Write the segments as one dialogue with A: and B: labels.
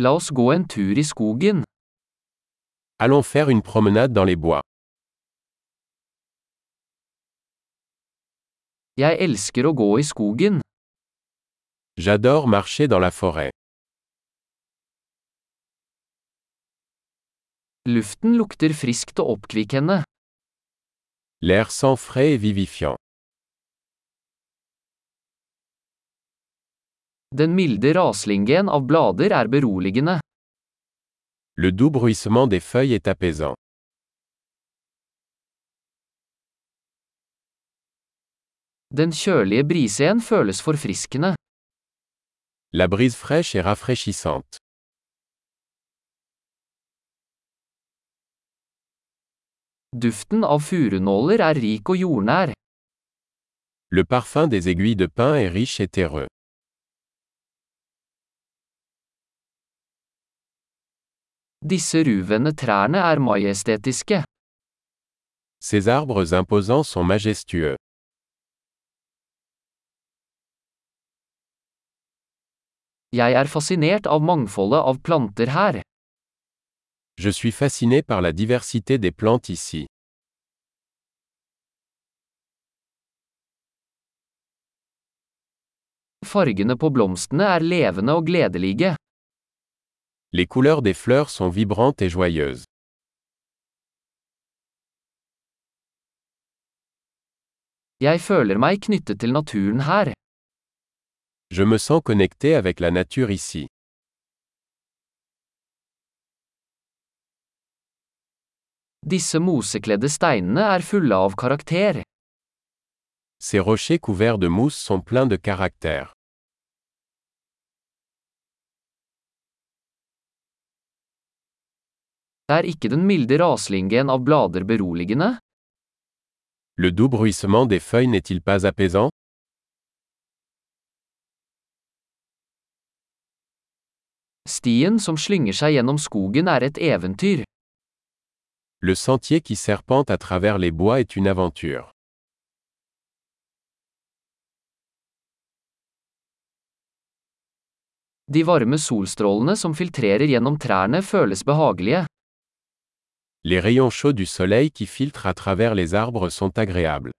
A: La oss gå en tur i skogen.
B: Allons faire une promenade dans les bois.
A: Jeg elsker å gå i skogen.
B: J'adore marcher dans la forêt.
A: Luften lukter friskt og oppkvikkende.
B: L'air sent frais et vivifiant.
A: Den milde raslingen av blader er beroligende.
B: Le doux bruissement des feuilles est apaisant.
A: Den kjølige brisen føles forfriskende.
B: La brise fraîche est rafraîchissante.
A: Duften av furunåler er rik og jordnær.
B: Le parfum des aiguilles de pin est riche et terreux.
A: Disse ruvende trærne er majestetiske.
B: Ces arbres imposants sont majestueux.
A: Jeg er fascinert av mangfoldet av planter her.
B: Je suis fasciné par la diversité des plantes ici.
A: Fargene på blomstene er levende og gledelige.
B: Les couleurs des fleurs sont vibrantes et joyeuses.
A: Jeg føler meg knyttet til naturen her.
B: Je me sens connecté avec la nature ici.
A: Disse mosekledde steinene er fulle av karakter.
B: Ces rochers couverts de mousse sont pleins de caractère.
A: Er ikke den milde raslingen av blader beroligende?
B: Le doux bruissement des feuilles n'est-il pas apaisant
A: Stien som slynger seg gjennom skogen er et eventyr.
B: Le sentier qui serpente à travers les bois est une aventure.
A: De varme solstrålene som filtrerer gjennom trærne føles behagelige.
B: Les rayons chauds du soleil qui filtrent à travers les arbres sont agréables.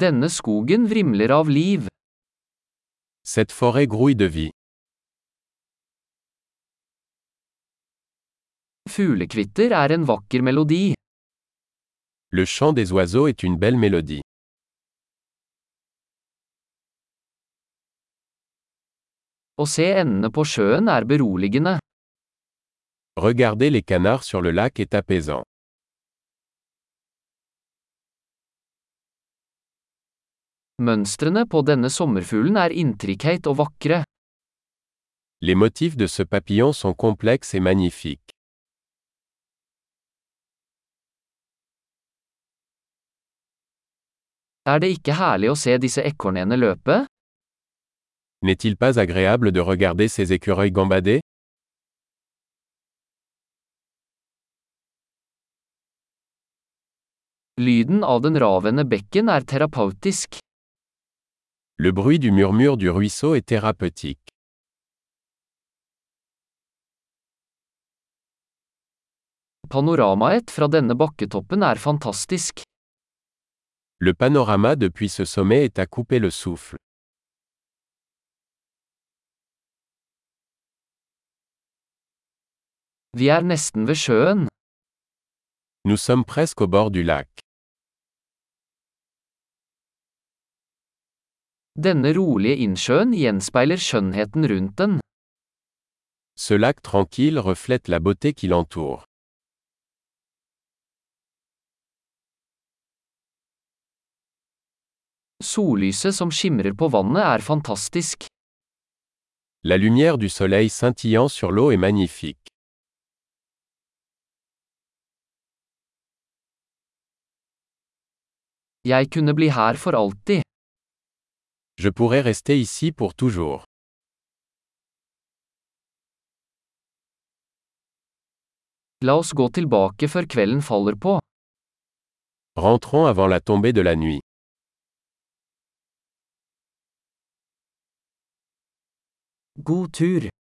A: Denne skogen vrimler av liv.
B: Cette forêt grouille de vie.
A: Fuglekvitter er en vakker melodi.
B: Le chant des oiseaux est une belle mélodie.
A: Å se endene på sjøen er beroligende.
B: Regarder les canards sur le lac est apaisant.
A: Mønstrene på denne sommerfuglen er intrikate og vakre.
B: Les motifs de ce papillon sont complexes et magnifiques.
A: Er det ikke herlig å se disse ekornene løpe?
B: N'est-il pas agréable de regarder ces écureuils gambader
A: Lyden av den ravende bekken er terapeutisk.
B: Le bruit du murmure du ruisseau est thérapeutique.
A: Panoramaet fra denne bakketoppen er fantastisk.
B: Le panorama depuis ce sommet est à couper le souffle.
A: Vi er nesten ved sjøen.
B: Nous sommes presque au bord du lac.
A: Denne rolige innsjøen gjenspeiler skjønnheten rundt den.
B: Ce lac tranquille reflète la beauté qui l'entoure.
A: Sollyset som skimrer på vannet er fantastisk.
B: La lumière du soleil scintillant sur l'eau est magnifique.
A: Jeg kunne bli her for alltid.
B: Je pourrais rester ici pour toujours.
A: La oss gå tilbake før kvelden faller på.
B: Rentrons avant la tombée de la nuit.
A: God tur!